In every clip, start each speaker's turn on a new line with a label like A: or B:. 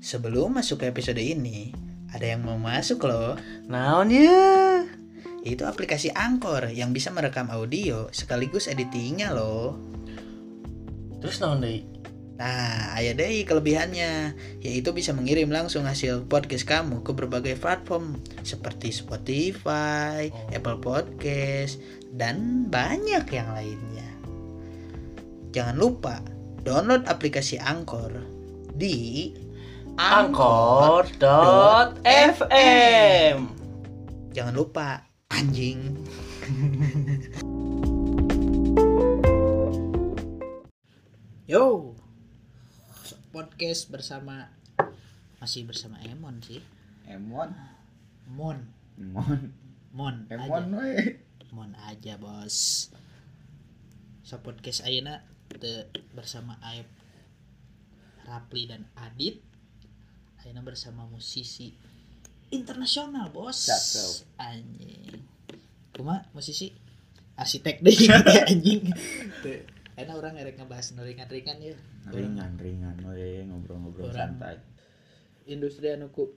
A: Sebelum masuk ke episode ini, ada yang mau masuk loh.
B: Naon ya?
A: Itu aplikasi Angkor yang bisa merekam audio sekaligus editingnya loh.
B: Terus naon deui?
A: Nah, ayah deh kelebihannya, yaitu bisa mengirim langsung hasil podcast kamu ke berbagai platform seperti Spotify,
B: Oh.
A: Apple Podcast, dan banyak yang lainnya. Jangan lupa download aplikasi Angkor di
B: Angkor.fm
A: Jangan lupa anjing. Yo, podcast bersama masih bersama Emon sih.
C: Emon,
A: Mon,
C: Emon,
A: Mon
C: Emon,
A: aja,
C: we.
A: Mon aja bos. So podcast Ayana bersama Aep Rapli dan Adit. Ayana bersama musisi internasional bos.
C: Cakep.
A: Anjing. Kuma musisi arsitek deh anjing. Teu. Ayana orang erek ngebahas nu ringan-ringan ya.
C: Ringan, ringan, we ngobrol-ngobrol
A: Orang.
C: santai.
A: industri anu ku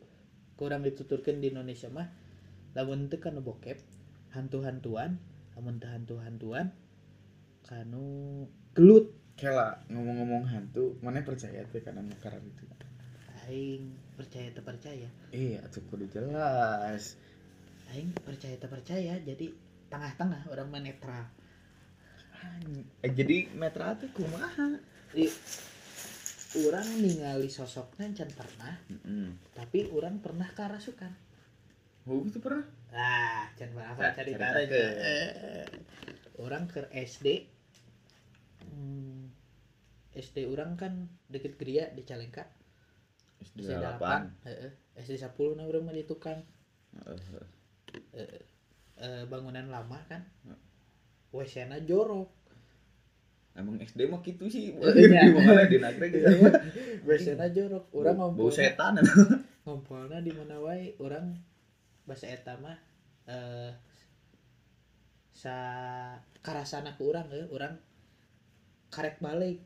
A: kurang dituturkan di Indonesia mah lamun teu kanu bokep hantu-hantuan lamun teu hantu-hantuan kanu gelut
C: Kela ngomong-ngomong hantu, mana percaya teh karena makaran itu?
A: aing percaya teu percaya
C: Iya, tuh kudu jelas.
A: aing percaya teu percaya jadi tengah-tengah orang mah netral
C: Anj- Eh, jadi metra teh kumaha?
A: orang ningali sosoknya can pernah
C: Heeh.
A: tapi orang pernah karasukan
C: Oh, gitu pernah?
A: Nah, can apa
C: Nah,
A: cari
C: cerita
A: tarik.
C: ke.
A: Eh, Orang ke SD. Hmm, SD orang kan deket Gria di Calengka.
C: SD
A: SD 8. Heeh. SD 10 nah orang mah di tukang
C: Heeh.
A: eh, bangunan lama kan.
C: Hmm.
A: WC-na jorok.
C: Emang SD mah gitu sih.
A: Iya.
C: Gimana di nagrek gitu.
A: WC-na jorok. Orang ngompol.
C: bau setan.
A: Ngompolna di mana wae orang bahasa eta mah eh sa karasana ke urang eh, urang karek balik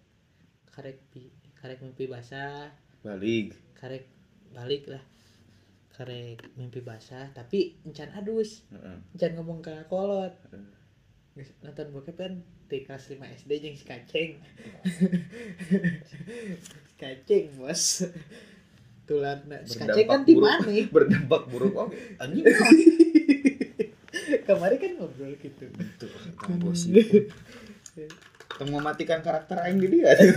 A: karek pi- karek mimpi basah
C: Balik.
A: karek balik lah karek mimpi basah tapi encan adus
C: Heeh.
A: encan ngomong ke kolot
C: Heeh.
A: Geus nonton bokep kan di kelas 5 SD jeung si kaceng si kaceng bos tular si kaceng kan
C: Berdampak
A: di
C: buruk.
A: mana
C: Berdampak buruk oke. Anjing.
A: kemarin kan ngobrol gitu
C: Tuh, tong gosip. Tong mematikan kan. karakter aing di dia.
A: Eh,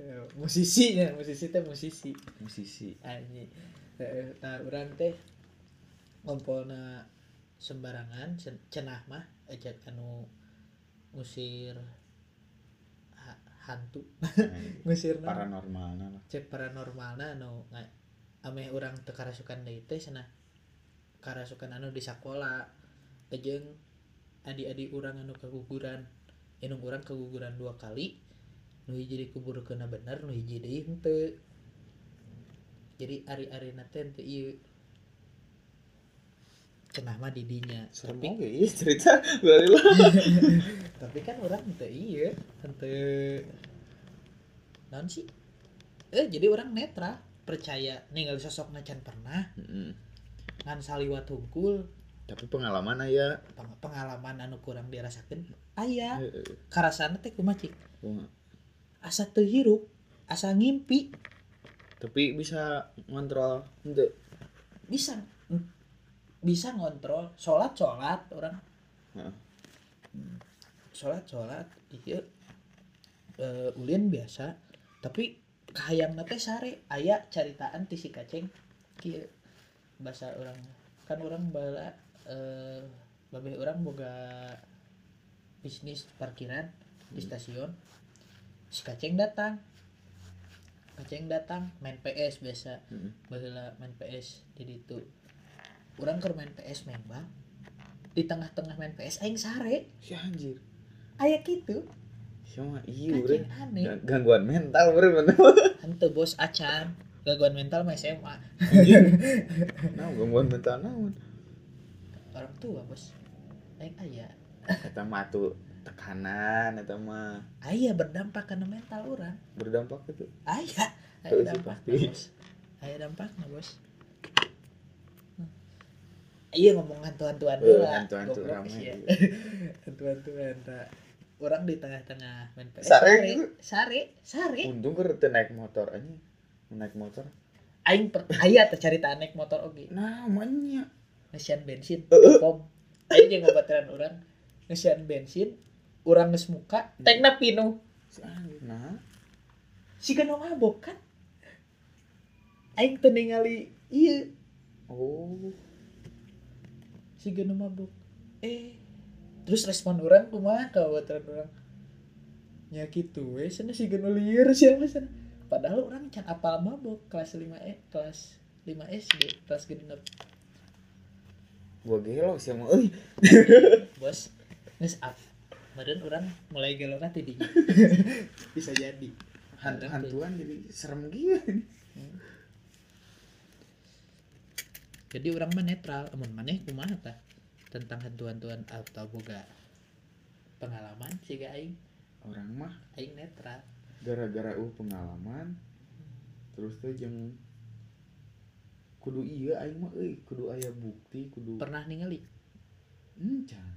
A: musisinya musisi teh musisi
C: Musisi.
A: anjing Eh, nah orang teh ngompolna sembarangan cen- cenah mah aja anu ngusir ha- hantu ngusir
C: paranormalnya lah
A: cek paranormalna anu nga- ame urang teu karasukan deui teh cenah karasukan anu di sakola jeung adi-adi urang anu keguguran inung urang keguguran dua kali nu hiji dikubur kena bener nu hiji deui henteu jadi ari-ari teh henteu ieu cenah mah di dinya
C: serem oke iya cerita balik lah
A: tapi kan orang henteu iya henteu non sih eh jadi orang netra percaya ninggal sosok macan pernah ngan saliwat hungkul
C: tapi pengalaman ya
A: peng- pengalaman anu kurang dirasakan ayah
C: Eh,
A: karasana teh kumacik asa teu hirup asa ngimpi
C: tapi bisa ngontrol untuk
A: bisa bisa ngontrol sholat sholat orang
C: Heeh.
A: sholat sholat iya Eh, ulin biasa tapi kahayang nate sare aya caritaan ti si kaceng kieu bahasa orang kan orang bala eh babeh orang boga bisnis parkiran di
C: Hmm.
A: stasiun si kaceng datang kaceng datang main PS biasa baheula main PS di ditu urang keur main PS memang di tengah-tengah main PS aing sare
C: si anjir
A: aya kitu
C: sama iya
A: kacing
C: bre
A: aneh
C: Ga- gangguan mental bre bener
A: henteu bos acan gangguan mental mah SMA
C: nah gangguan mental naon
A: orang tua bos aing aya
C: eta mah tuh tekanan eta mah
A: aya berdampak karena mental orang
C: berdampak itu
A: aya Aya
C: Itu sih
A: dampakna,
C: pasti.
A: bos. Aya dampakna, bos. Hmm. Iya ngomong hantu-hantuan
C: Eh,
A: dulu lah.
C: hantu-hantu
A: Iya. Goblok
C: ramai.
A: sih ya. Hantu-hantuan tak. Orang di tengah-tengah main PS.
C: Sare gitu.
A: sare, sare.
C: untung gue teu naik motor aja naik motor
A: Aing per aya teh carita naik motor oge.
C: Nah, namanya
A: ngesian bensin
C: Heeh.
A: kom aja yang ngobatiran orang ngesian bensin orang nges muka tekna pinu
C: nah
A: si kena mabok kan aing teu ningali iya
C: oh
A: si kena mabok eh terus respon orang kumaha kawatan orang ya gitu we sana si kena liar siapa sana padahal orang can apal mabok kelas 5 e kelas 5 SD kelas genep
C: gua gelok sih Eh, mau euy
A: bos nges up Kemarin orang mulai gelona tidinya bisa jadi ya?
C: hantu hantuan jadi serem gitu
A: jadi orang mah netral amun maneh kumaha tah tentang hantu-hantuan atau boga pengalaman sih ga aing
C: orang mah
A: aing netral
C: gara-gara uh pengalaman terus tuh jeung kudu iya aing mah euy kudu aya bukti kudu
A: pernah ningali
C: hmm can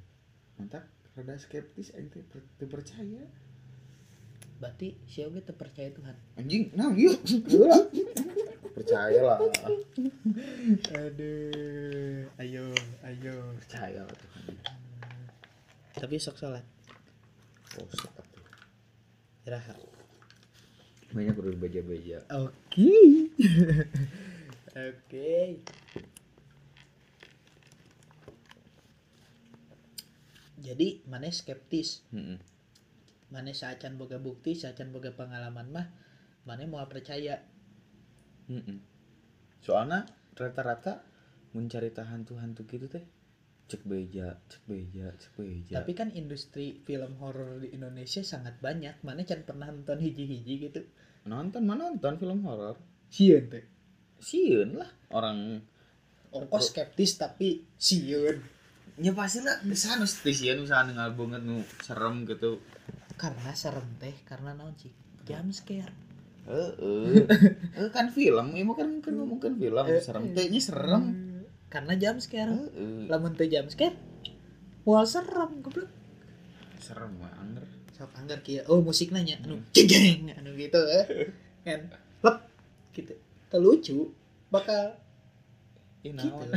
C: mantap rada skeptis aing teh per- teu percaya
A: berarti si oge teu percaya Tuhan
C: anjing nah yuk Heula. percaya lah
A: aduh ayo ayo
C: percaya lah Tuhan.
A: tapi sok salat
C: oh sok atuh.
A: raha
C: banyak kudu beja-beja
A: oke oke jadi maneh skeptis
C: Heeh.
A: mana sacan boga bukti sacan boga pengalaman mah mana mau percaya
C: soalnya rata-rata mencari hantu-hantu gitu teh cek beja cek beja cek beja
A: tapi kan industri film horor di Indonesia sangat banyak mana can pernah nonton hiji-hiji gitu
C: nonton mana nonton film horor
A: sieun teh
C: sieun lah orang
A: kok Oh, skeptis tapi sieun
C: ya pasti lah bisa nu sieun bisa dengar banget nu serem gitu
A: karena serem teh karena naon sih jam scare
C: heeh Eh, kan film ieu mah kan kan ngomongkeun film serem teh nya serem
A: karena jam scare
C: eh. heeh
A: lamun teh jam scare wal serem goblok
C: serem mah anger
A: sok anggar kieu oh musik nanya anu jeng anu gitu eh kan lep gitu terlucu bakal
C: Ih,
A: gitu. eh.
C: Ya naon.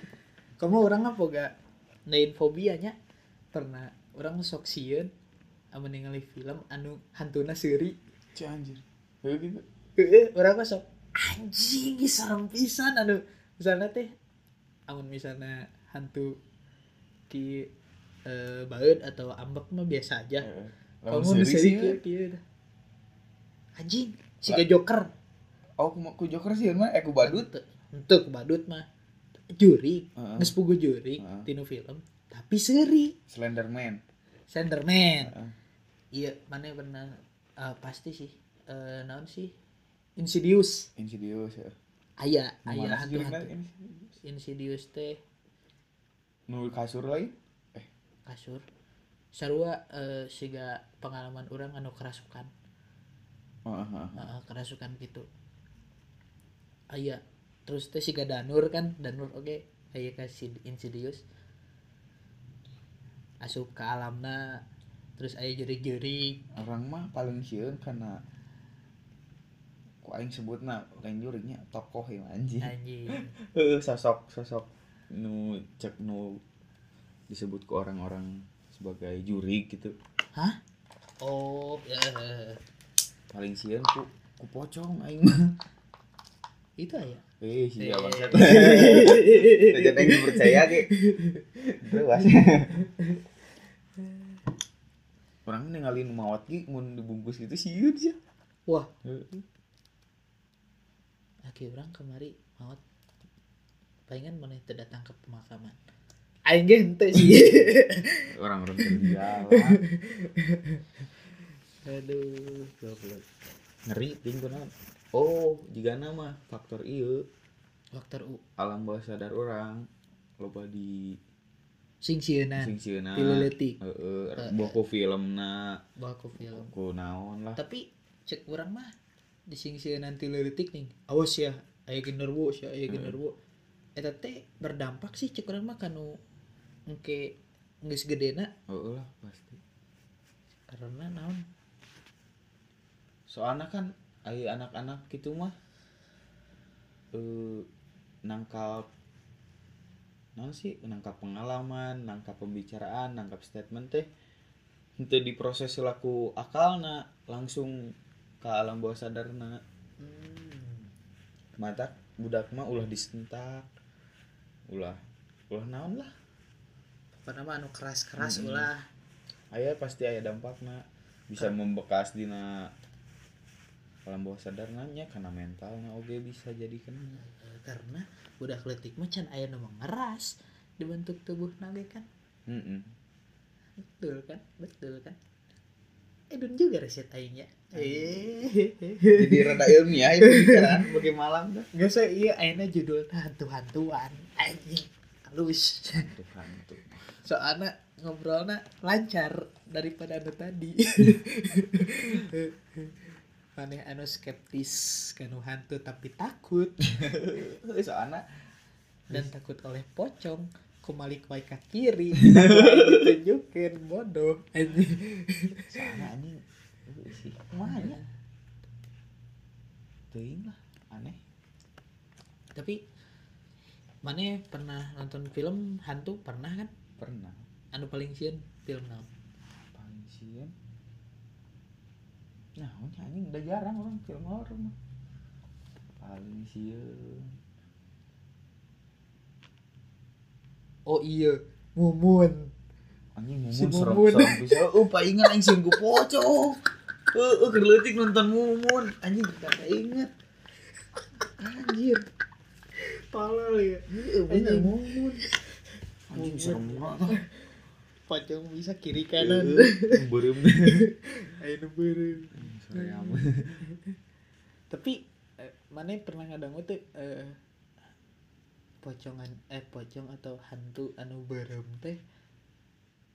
A: kamu orang apa gak lain fobianya pernah orang sok sieun anu ningali film anu hantuna seuri
C: Cih, anjir Heeh, gitu
A: Heeh, eh, orang mah sok anjing ih, serem pisan anu misalnya teh amun misalnya hantu di eh, baeud atau ambek mah biasa aja
C: Heeh. Lamun
A: kamu
C: ya.
A: nu
C: seurik
A: seuri
C: sieun.
A: kieu kieu dah. iya, anjing si joker
C: Oh, ku, ku Joker sih mah eh ku badut. Ah.
A: untuk badut mah juri
C: Heeh.
A: geus puguh juri
C: Heeh.
A: tinu film tapi seuri
C: Slenderman.
A: Senderman.
C: Heeh.
A: Iya, mana pernah eh, pasti sih. Eh naon sih? Insidious.
C: Insidious ya.
A: Aya,
C: Nu
A: aya
C: mana sih judulnya
A: hantu-hantu.
C: Insidious?
A: Insidious teh
C: Nu kasur lagi.
A: kasur. Sarua eh, siga pengalaman orang anu kerasukan.
C: Heeh, heeh.
A: Heeh, kerasukan gitu. Aya. Terus teh siga Danur kan, Danur oke. Aya ka si- Insidious. Asup ke alamna. Terus aya juri-juri
C: Orang mah paling sieun karena ku aing sebutna lain jurinya tokoh ya anjing.
A: anjing.
C: Heeh, sosok sosok nu cek nu disebut ke orang-orang sebagai juri gitu.
A: Oh, ya.
C: Paling sieun ku ku pocong aing mah.
A: itu aja
C: Eh, sia
A: Eh.
C: bangsat. Jadi aing percaya ge. Terus. Orang ninggalin mawat ge mun dibungkus gitu sieun sih.
A: wah
C: Heeh.
A: laki orang kemari maut palingan mana itu datang ke pemakaman aing ge henteu sih
C: Orang orang kerja lah.
A: aduh goblok
C: Ngeri ting kunaon. Oh, jika nama faktor ieu
A: dokter u
C: alam bawah sadar orang loba di
A: sing sieuna
C: sing sieuna.
A: tileleutik
C: Heeh, boku filmna,
A: baku film
C: ku naon lah.
A: tapi cek orang mah disingsi nanti lirik nih awas ya aya genderwo ya aya
C: Hmm.
A: genderwo eta teh berdampak sih cek urang mah kanu engke geus gedena
C: oh lah pasti
A: karena naon
C: soalnya kan ayo anak-anak gitu mah eh nangkap naon sih nangkap pengalaman nangkap pembicaraan nangkap statement teh itu diproses laku akalna langsung ke alam bawah sadarna mata budak mah ulah disentak ulah ulah naon lah
A: apa nama anu keras-keras
C: Mm-mm.
A: ulah
C: ayah pasti ayah dampakna bisa membekas dina alam bawah sadarnanya karena mentalnya oke bisa jadi kena
A: karena udah kletik mah can aya nu ngeras di bentuk tubuh nage kan
C: Mm-mm.
A: betul kan betul kan edun juga resep aingnya eh
C: jadi rada ilmiah itu bicaraan pakai malam dah
A: nggak usah iya aina judul hantu-hantuan anjing halus
C: Tuhan tuh
A: soalnya ngobrolnya lancar daripada anu tadi maneh anu skeptis kanu hantu tapi takut
C: soalnya
A: dan takut oleh pocong kumalik wae ka kiri ditunjukin bodoh anjing
C: soalnya anjing eh, sih mahanya teuing lah aneh
A: tapi maneh pernah nonton film hantu pernah kan
C: pernah
A: anu paling sieun film naon
C: paling sieun nah anjing udah jarang orang film horor mah paling eh, sieun
A: oh iya mumun
C: anjing mumun
A: Si
C: serem
A: Mumun.
C: serem bisa oh paingan anjing sing ku pocong eh uh, kerleutik nonton mumun anjing kada inget anjir
A: tolol ya
C: heuh bener
A: Anjing.
C: mumun anjing serem banget Eh,
A: pocong bisa kiri
C: kanan
A: kanan
C: berem
A: ayo beureum
C: Hmm, sayang
A: tapi eh, mana pernah ngadangu tuh eh, pocongan eh pocong atau hantu anu berem teh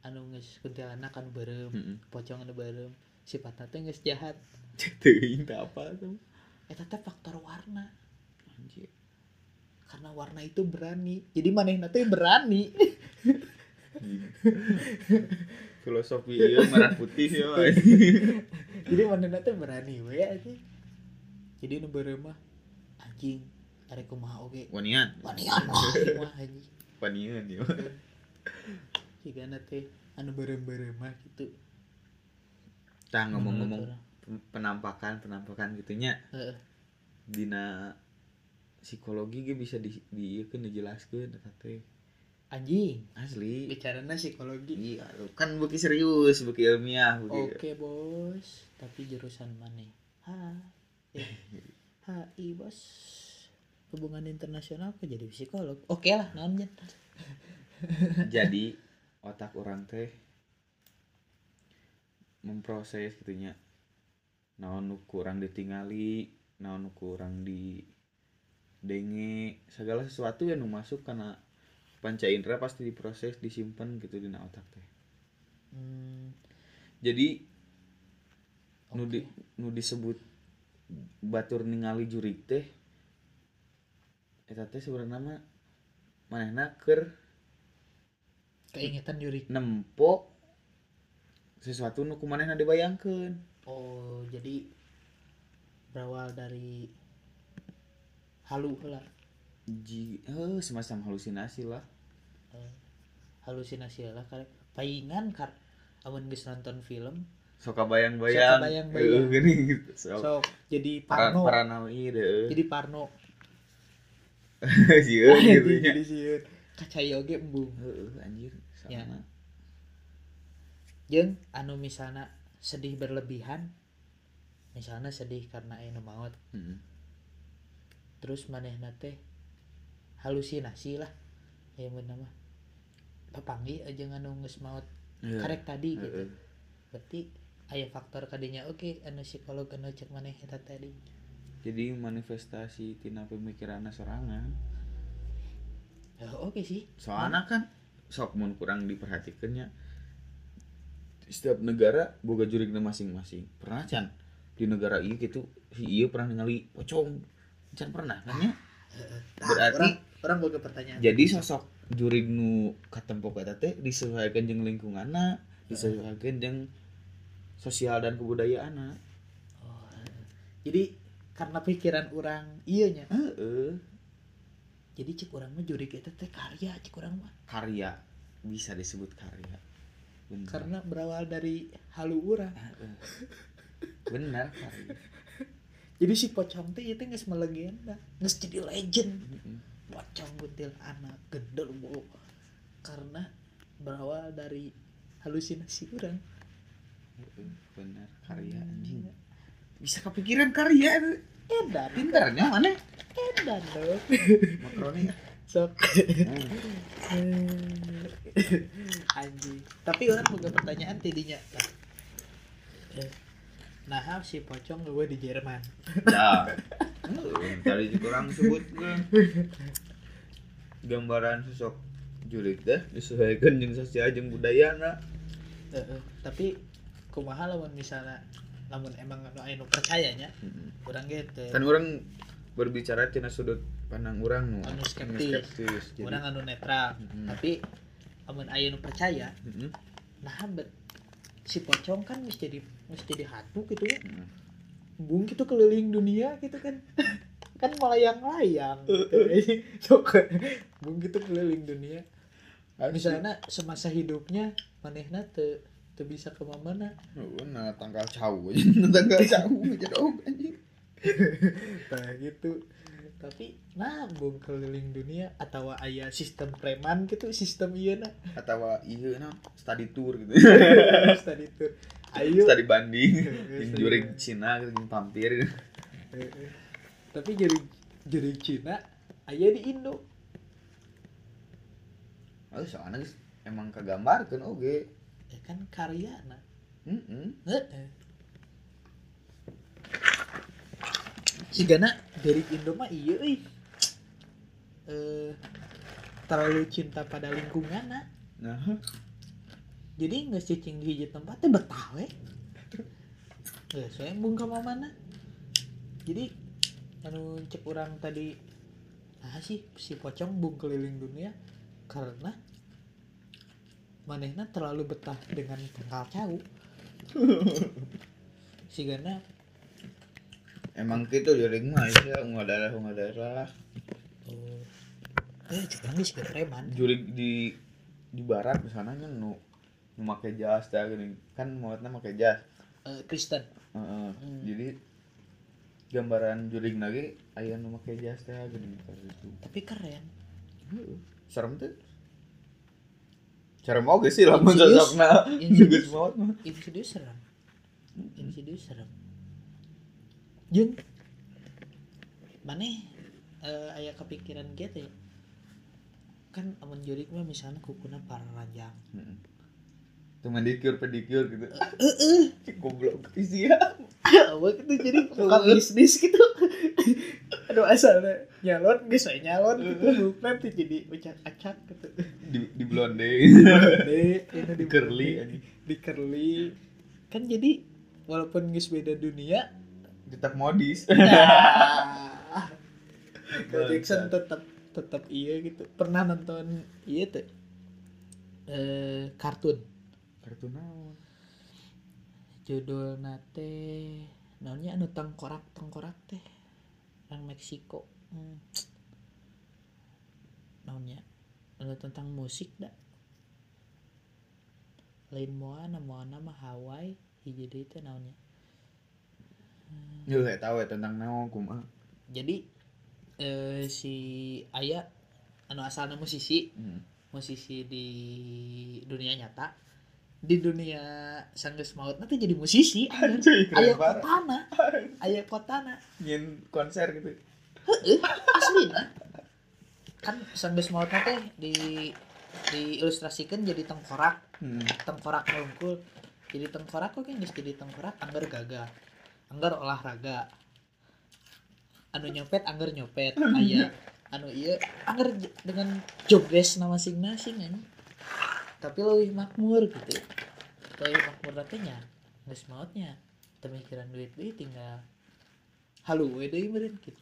A: anu geus kuntilanak anu berem
C: Hmm.
A: pocong anu berem sifatnya teh geus jahat
C: teuing teh apa tuh
A: eta teh faktor warna
C: anjir
A: karena warna itu berani jadi manehna teh berani
C: filosofi iya merah putih ya
A: jadi manehna teh berani we anjing jadi anu berem mah anjing arek kumaha oge
C: wanian
A: wanian mah ieu mah anjing
C: wanian ya
A: jika nanti anu berem-berem mah gitu
C: tah ngomong-ngomong
A: Menurut orang.
C: penampakan penampakan gitunya
A: Heeh.
C: dina psikologi ge bisa di diieun dijelaskeun eta teh
A: anjing
C: asli
A: bicaranya psikologi
C: iya kan beuki serius beuki ilmiah
A: oke
C: beuki
A: bos tapi jurusan mana ha eh, hi bos hubungan internasional kok jadi psikolog oke lah namanya
C: jadi otak orang teh memproses gitunya naon nu kurang ditingali naon nu kurang di denge segala sesuatu yang nu masuk karena panca indera pasti diproses disimpan gitu dina otak teh
A: hmm,
C: jadi
A: oke.
C: nu di- nu disebut batur ningali jurik teh eta teh sebenarnya mah manehna keur
A: keingetan juri
C: nempok sesuatu nu kumanehna dibayangkeun
A: oh jadi berawal dari halu lah
C: ji heuh, semacam halusinasi lah
A: halusinasi lah karek paingan kar amun geus nonton film
C: suka bayang-bayang
A: Sok kabayang-bayang.
C: Heuh, gini gitu sok
A: so jadi
C: para,
A: parno
C: paranoid heuh.
A: jadi parno
C: Sieun gitu
A: Jadi-
C: nya.
A: jadi sieun kacaya oge embung
C: Heuh, anjir soalna
A: jeng anu misalnya sedih berlebihan misalnya sedih karena anu maut
C: Heeh.
A: terus manehna teh halusinasi lah ya bener mah papanggi aja anu geus maut
C: Heuh,
A: karek tadi gitu
C: heuh.
A: berarti aya faktor kadinya oke anu psikolog anu cek maneh eta tadi
C: jadi manifestasi tina pemikirannya serangan
A: Ya, Oh, oke sih
C: soalnya kan sok mun kurang diperhatikannya setiap negara boga jurigna masing-masing pernah can di negara iya gitu si iya pernah ningali pocong Can pernah kan ya? Berarti-
A: orang, orang boga pertanyaan
C: jadi sosok juri nu katempok eta teh disesuaikan jeung lingkunganna disesuaikan jeung sosial dan kebudayaanna
A: Oh, eh. jadi karena pikiran orang iya nya
C: heeh
A: jadi cek orang mah juri kita teh karya cek orang mah
C: karya bisa disebut karya bener
A: karena berawal dari halu orang
C: Heeh. bener karya
A: jadi si pocong teh itu nggak melegenda nggak jadi legend
C: Heeh.
A: pocong kuntil anak gendel bu karena berawal dari halusinasi orang
C: Heeh. bener karya anjing bisa kepikiran karya
A: edan
C: pinternya mana
A: edan dong
C: makroni
A: sok
C: Hmm.
A: Eh, anjing tapi orang punya pertanyaan tidinya Tah. Eh, nah hap, si pocong gue di Jerman
C: Nah, tadi kurang sebut ke gambaran sosok julid teh disesuaikan jeung sosial jeung budayana.
A: Eh, eh, tapi kumaha lamun misalnya lamun emang anu anu percayanya kurang gitu
C: Kan orang berbicara tina sudut pandang orang nu
A: Anu skeptis.
C: anu skeptis. Jadi,
A: kurang anu netral
C: Mm-mm.
A: tapi lamun aya anu percaya
C: Mm-mm.
A: nah bet si pocong kan mesti jadi mesti jadi hatu gitu ya
C: Mm.
A: bung gitu keliling dunia gitu kan kan melayang-layang gitu Sok, bung gitu keliling dunia Anu misalnya semasa hidupnya manehna teu teu bisa ke mana
C: Heeh, nah tanggal jauh aja, nah, tanggal jauh aja dong anjing.
A: nah gitu tapi nah bung keliling dunia atau ayah sistem preman gitu sistem iya nah
C: Atawa ieu na study tour gitu.
A: tadi tuh ayo Iya,
C: study banding jeung
A: Study.
C: jurig Cina gitu jeung pampir.
A: Eh, eh. tapi jadi jadi Cina ayah di Indo
C: Oh, soalnya geus emang kagambarkeun oge.
A: ya kan Eh, karya nah
C: Heeh.
A: Sigana dari Indo mah iya euy. Eh, terlalu cinta pada lingkungan ah. nah.
C: Nah,
A: jadi nggak cicing di hiji tempat teh betah we ya saya bung ka mana jadi anu cek orang tadi ah sih si pocong bung keliling dunia karena manehna terlalu betah dengan tangkal cau si gana
C: emang gitu di ring mah ya nggak daerah nggak daerah
A: oh, eh cek orang geus preman
C: juri di di barat misalnya kan nu nu make jas dah gini kan muatnya make jas
A: Eh, Kristen
C: Heeh.
A: Hmm.
C: jadi gambaran juring lagi ayah nu make jas dah gini kayak gitu
A: tapi keren
C: serem tuh serem oge sih lamun
A: Insidious.
C: sosokna
A: Insidious.
C: geus maot mah
A: Insidious serem Insidious serem Jun Mana ya? eh Ayah kepikiran gitu ya Kan amun jurik mah misalnya kukuna para ranjang
C: Heeh. tuh manicure pedicure gitu Uh-uh. goblok isi ya
A: Awal gitu jadi buka bisnis gitu Aduh asalnya Nyalon gak saya nyalon gitu Bukan tuh jadi acak-acak gitu
C: di di blonde
A: Dek, ini
C: di curly
A: di-
C: anjing.
A: Di curly Kan jadi Walaupun guys beda dunia
C: cetak modis
A: Ah. Michael
C: Bangsat.
A: Jackson tetap tetap iya gitu. Pernah nonton iya tuh eh kartun
C: kartu naon
A: judul nate namanya anu tengkorak tengkorak teh orang Meksiko hmm. namanya anu tentang musik dah lain Moana Moana mah Hawaii hiji deui teh naonnya
C: Ya gak tahu ya tentang naon kumaha.
A: jadi eh, si ayah anu asalnya musisi
C: Hmm.
A: musisi di dunia nyata di dunia sanggeus maut nanti jadi musisi
C: Anjay,
A: ayah
C: keren banget.
A: kotana ayah kotana
C: Nyin konser gitu.
A: aslina kan sanggeus maut teh di diilustrasikeun jadi tengkorak
C: Hmm.
A: tengkorak melungkul jadi tengkorak kok geus jadi tengkorak anggar gagah anggar olahraga anu nyopet anggar nyopet aya anu iya anggar j- dengan jobdesk nama masing-masing anjing. tapi lebih makmur gitu lebih makmur nantinya geus mautnya pemikiran duit duit tinggal halo we deui meureun gitu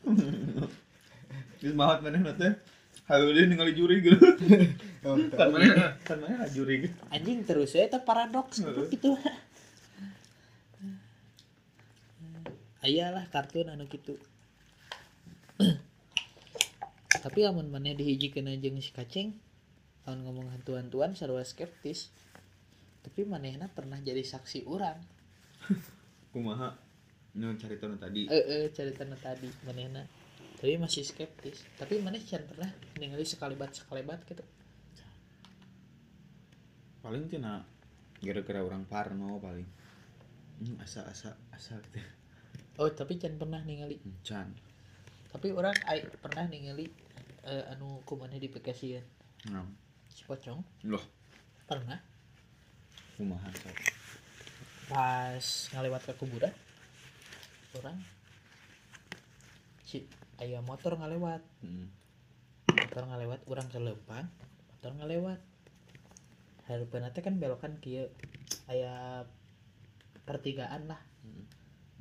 C: Terus mahat mana nanti? Halo dia ningali juri gitu. Kan mana? Kan mana lah juri gitu.
A: anjing terus ya itu paradoks gitu gitu ayalah kartun anu gitu tapi amun mana dihijikeun jeung si kaceng lawan ngomong hantu-hantuan sarua skeptis tapi manehna pernah jadi saksi orang
C: Kumaha? Nu cari tahu tadi.
A: eh eh cerita nu tadi manehna tapi masih skeptis tapi maneh can pernah ningali sekalibat sekalibat gitu
C: Paling tina gara-gara orang parno paling. Hmm, asa asa asa gitu. Hmm,
A: oh tapi can pernah ningali
C: Can.
A: tapi orang ai, pernah ningali eh, anu kumana di Bekasian
C: Nah,
A: si pocong
C: loh
A: pernah
C: kumaha sok.
A: pas ngalewat ke kuburan orang si ayah motor ngalewat
C: Hmm.
A: motor ngalewat orang ke lempang motor ngalewat harupana teh kan belokan kieu aya pertigaan lah
C: Hmm.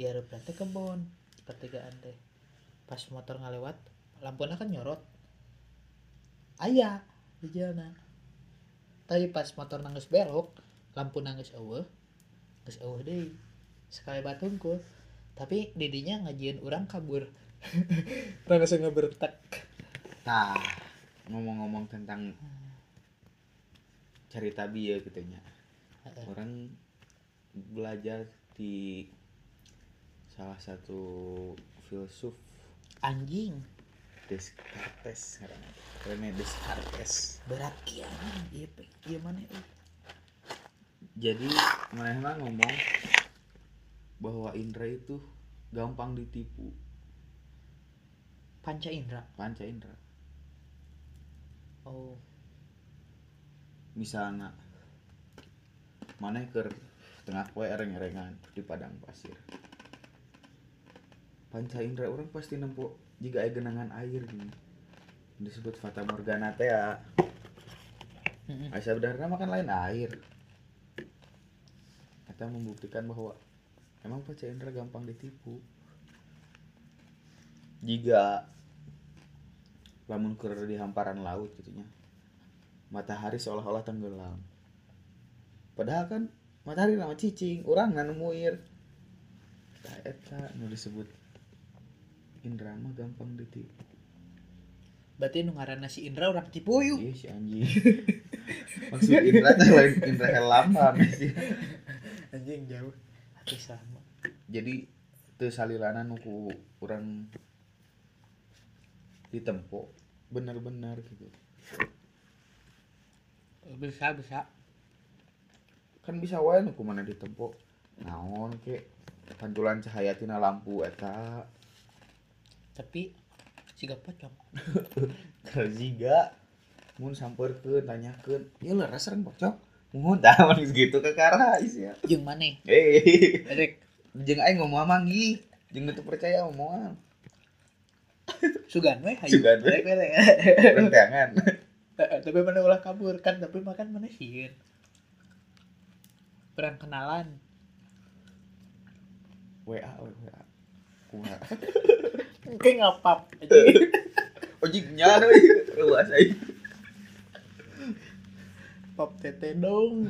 A: di harupna teh kebon pertigaan teh pas motor ngalewat lampuna kan nyorot aya di jalan tapi pas motor nangis belok lampu nangis eueuh geus eueuh deui sekali batungkul tapi didinya ngajieun orang kabur langsung ngebertek
C: Nah, ngomong-ngomong tentang cerita bieu gitu nya.
A: Eh.
C: orang belajar di salah satu filsuf
A: anjing
C: Descartes ngaranna. Rene Descartes
A: berat kian iya pe- iya mana eh.
C: jadi mereka ngomong bahwa indra itu gampang ditipu
A: panca indra
C: panca indra
A: oh
C: misalnya mana ke tengah poe ereng-erengan di padang pasir panca indra orang pasti nempo jika ada genangan air gini disebut fata morgana teh ya.
A: Mm-mm.
C: Aisyah Bedara makan lain air. Kita membuktikan bahwa emang Pak Cendra gampang ditipu. Jika lamun keur di hamparan laut gitunya. Matahari seolah-olah tenggelam. Padahal kan matahari nama cicing, orang nggak nemuir. Tah eta nu disebut Indra mah gampang ditipu.
A: berarti nu ngaranna si indra orang tipuyu
C: Iya si anjing. Maksud Indra teh lain Indra Helama sih.
A: anjing jauh hati sama
C: jadi teu salilana nu ku urang ditempo bener-bener gitu
A: bisa bisa
C: kan bisa wae nu kumana ditempo naon ke pantulan cahaya tina lampu eta
A: tapi siga pocong
C: kerjiga mun sampeurkeun tanyakeun ieu leres sareng pocong mun tahan gitu ke kara isya
A: jeung mana
C: eh
A: rek
C: jeung aing ngomong manggi jeung teu percaya omongan
A: sugan we hayu
C: Sugan we.
A: rek rek Eh,
C: rentangan
A: tapi mana ulah kabur kan tapi makan mana sieun perang kenalan
C: WA WA kumaha
A: mungkin ngapap
C: ojiknya deh luas aja
A: pop tete dong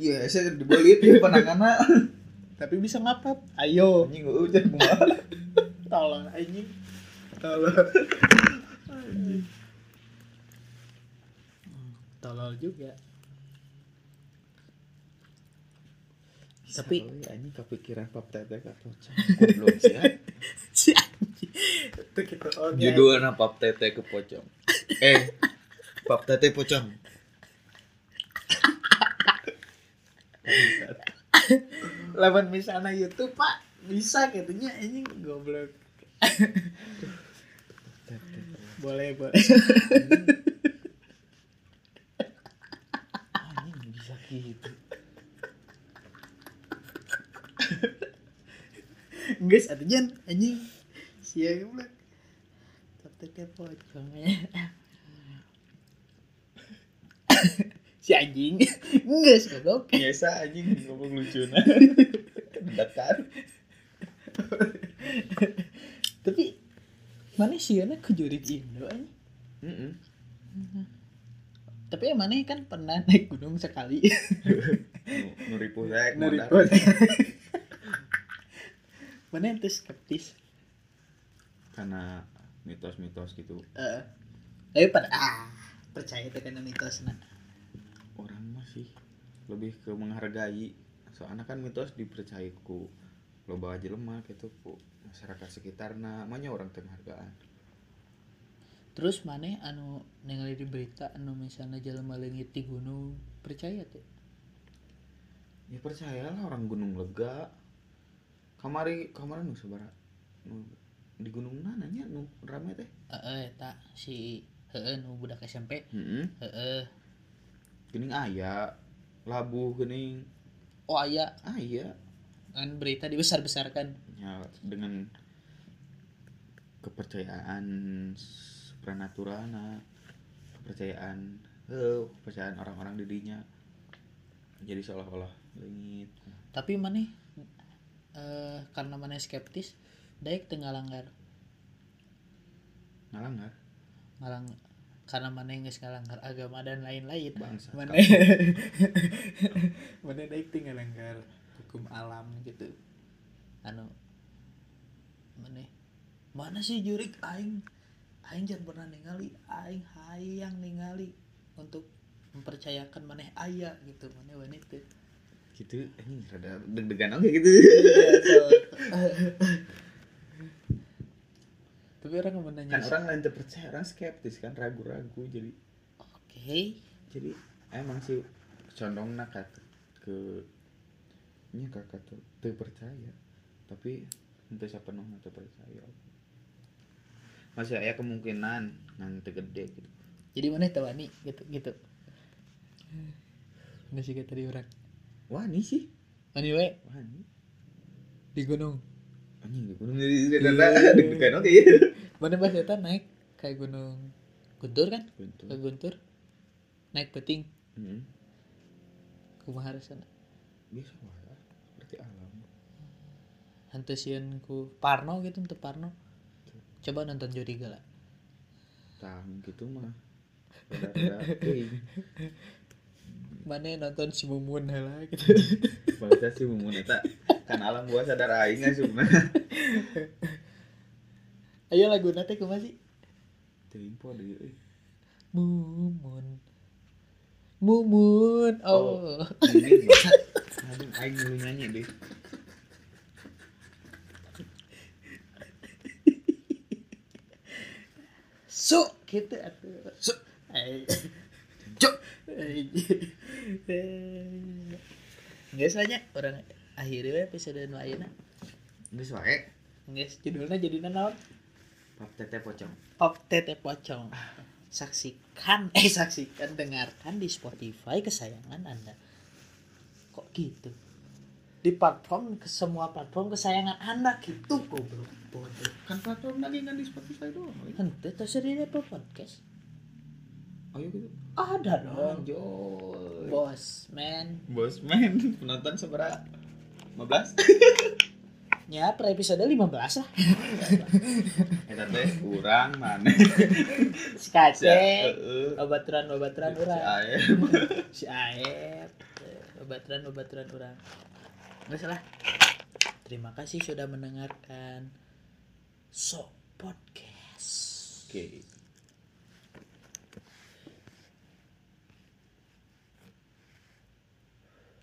C: Iya, saya dibelit ya pandangannya.
A: tapi bisa ngapap ayo
C: Anjing gue hujan kumaha.
A: tolong anjing tolong tolol juga Tapi-
C: Sawi, anjing kepikiran pap teteh ka pocong. Goblok sih. ya.
A: si anjing itu gitu oke
C: Judulna pap teteh ke pocong. Eh, pap teteh pocong.
A: lawan misalnya YouTube pak bisa katanya anjing goblok boleh boleh
C: Anjing bisa gitu.
A: guys artinya anjing sia goblok tapi kayak pocongnya si anjing guys goblok
C: Iya, Biasa anjing ngomong lucu nah. dadakan
A: tapi mana sih anak kejurit Indo aja
C: Heeh.
A: tapi yang mana kan pernah naik gunung sekali
C: nuripuh rek
A: Nari
C: modal.
A: mana itu skeptis
C: karena mitos-mitos gitu
A: Eh, tapi pada ah percaya itu karena mitos nah
C: orang masih lebih ke menghargai soalnya kan mitos dipercaya ku loba aja lemah gitu ku masyarakat sekitar nah makanya orang teu menghargaan
A: terus mana anu ningali di berita anu misalnya jalan malengit di gunung percaya tuh
C: ya percayalah orang gunung lega kamari kamaran nu sabara nu di gunung mana nya nu rame teh
A: eh tak si heeh nu budak SMP
C: heeh
A: heeh
C: geuning aya labuh geuning
A: oh aya
C: aya
A: kan berita dibesar besarkan
C: ya dengan kepercayaan supranatural nah kepercayaan eh kepercayaan orang-orang dirinya jadi seolah-olah langit
A: tapi mana eh karena mana skeptis daik tengah langgar
C: ngalanggar
A: ngalang karena mana yang ngalanggar agama dan lain-lain
C: bangsa
A: mana
C: Kau-
A: mana daik tinggal langgar hukum alam gitu anu mana mana sih jurik aing aing jangan pernah ningali aing hayang ningali untuk mempercayakan maneh ayah gitu maneh wanita
C: gitu ini rada deg-degan oke gitu
A: tapi orang mau nanya
C: kan orang lain terpercaya orang skeptis kan ragu-ragu jadi
A: oke
C: jadi emang sih condong nak ke nya kakak tuh tuh percaya tapi untuk siapa nong tuh percaya masih ada kemungkinan nanti gede gitu
A: jadi mana tahu nih gitu gitu ini sih tadi orang
C: wani sih
A: anyway
C: wani gitu.
A: di gunung
C: anjing gue deg-degan oke ya
A: mana pas eta naik kayak gunung guntur kan ke guntur naik peting
C: Hmm,
A: kumaha rasana
C: biasa lah ya, seperti alam
A: hantusieun ku Parno gitu untuk Parno coba nonton Jody Gala
C: tang gitu mah Rada-rada teuing.
A: mana nonton si Mumun heula gitu
C: Bangsa sih mumun eta kan alam gua sadar aing asupna.
A: ayo lagu nate kumaha sih
C: Teuing po deui euy.
A: Mumun Mumun oh,
C: Oh. Ini gua- Aduh, aing dulu nyanyi deh.
A: so gitu atuh so cok Nggak saja orang akhirnya episode nu ayeuna.
C: Geus wae
A: Nggak judulnya jadi naon?
C: pap tete pocong.
A: Pop Tete Pocong. Saksikan, eh saksikan, dengarkan di Spotify kesayangan Anda. Kok gitu? Di platform, ke semua platform kesayangan Anda gitu goblok. Bodoh.
C: Kan platform lagi kan di Spotify doang. eh. euy.
A: Henteu tos di Apple Podcast.
C: Ayo gitu.
A: Ada dong.
C: Lanjut.
A: Bos, men.
C: Bos men, penonton seberapa? 15.
A: Ya, per episode 15 lah.
C: Eta Eh, teh kurang mana?
A: Si
C: Sia,
A: Kaceng.
C: Heeh.
A: Obaturan-obaturan
C: Si
A: orang.
C: Aep.
A: Si Aep. eh, Obaturan-obaturan orang. Nggak salah. Terima kasih sudah mendengarkan. So Podcast.
C: Oke.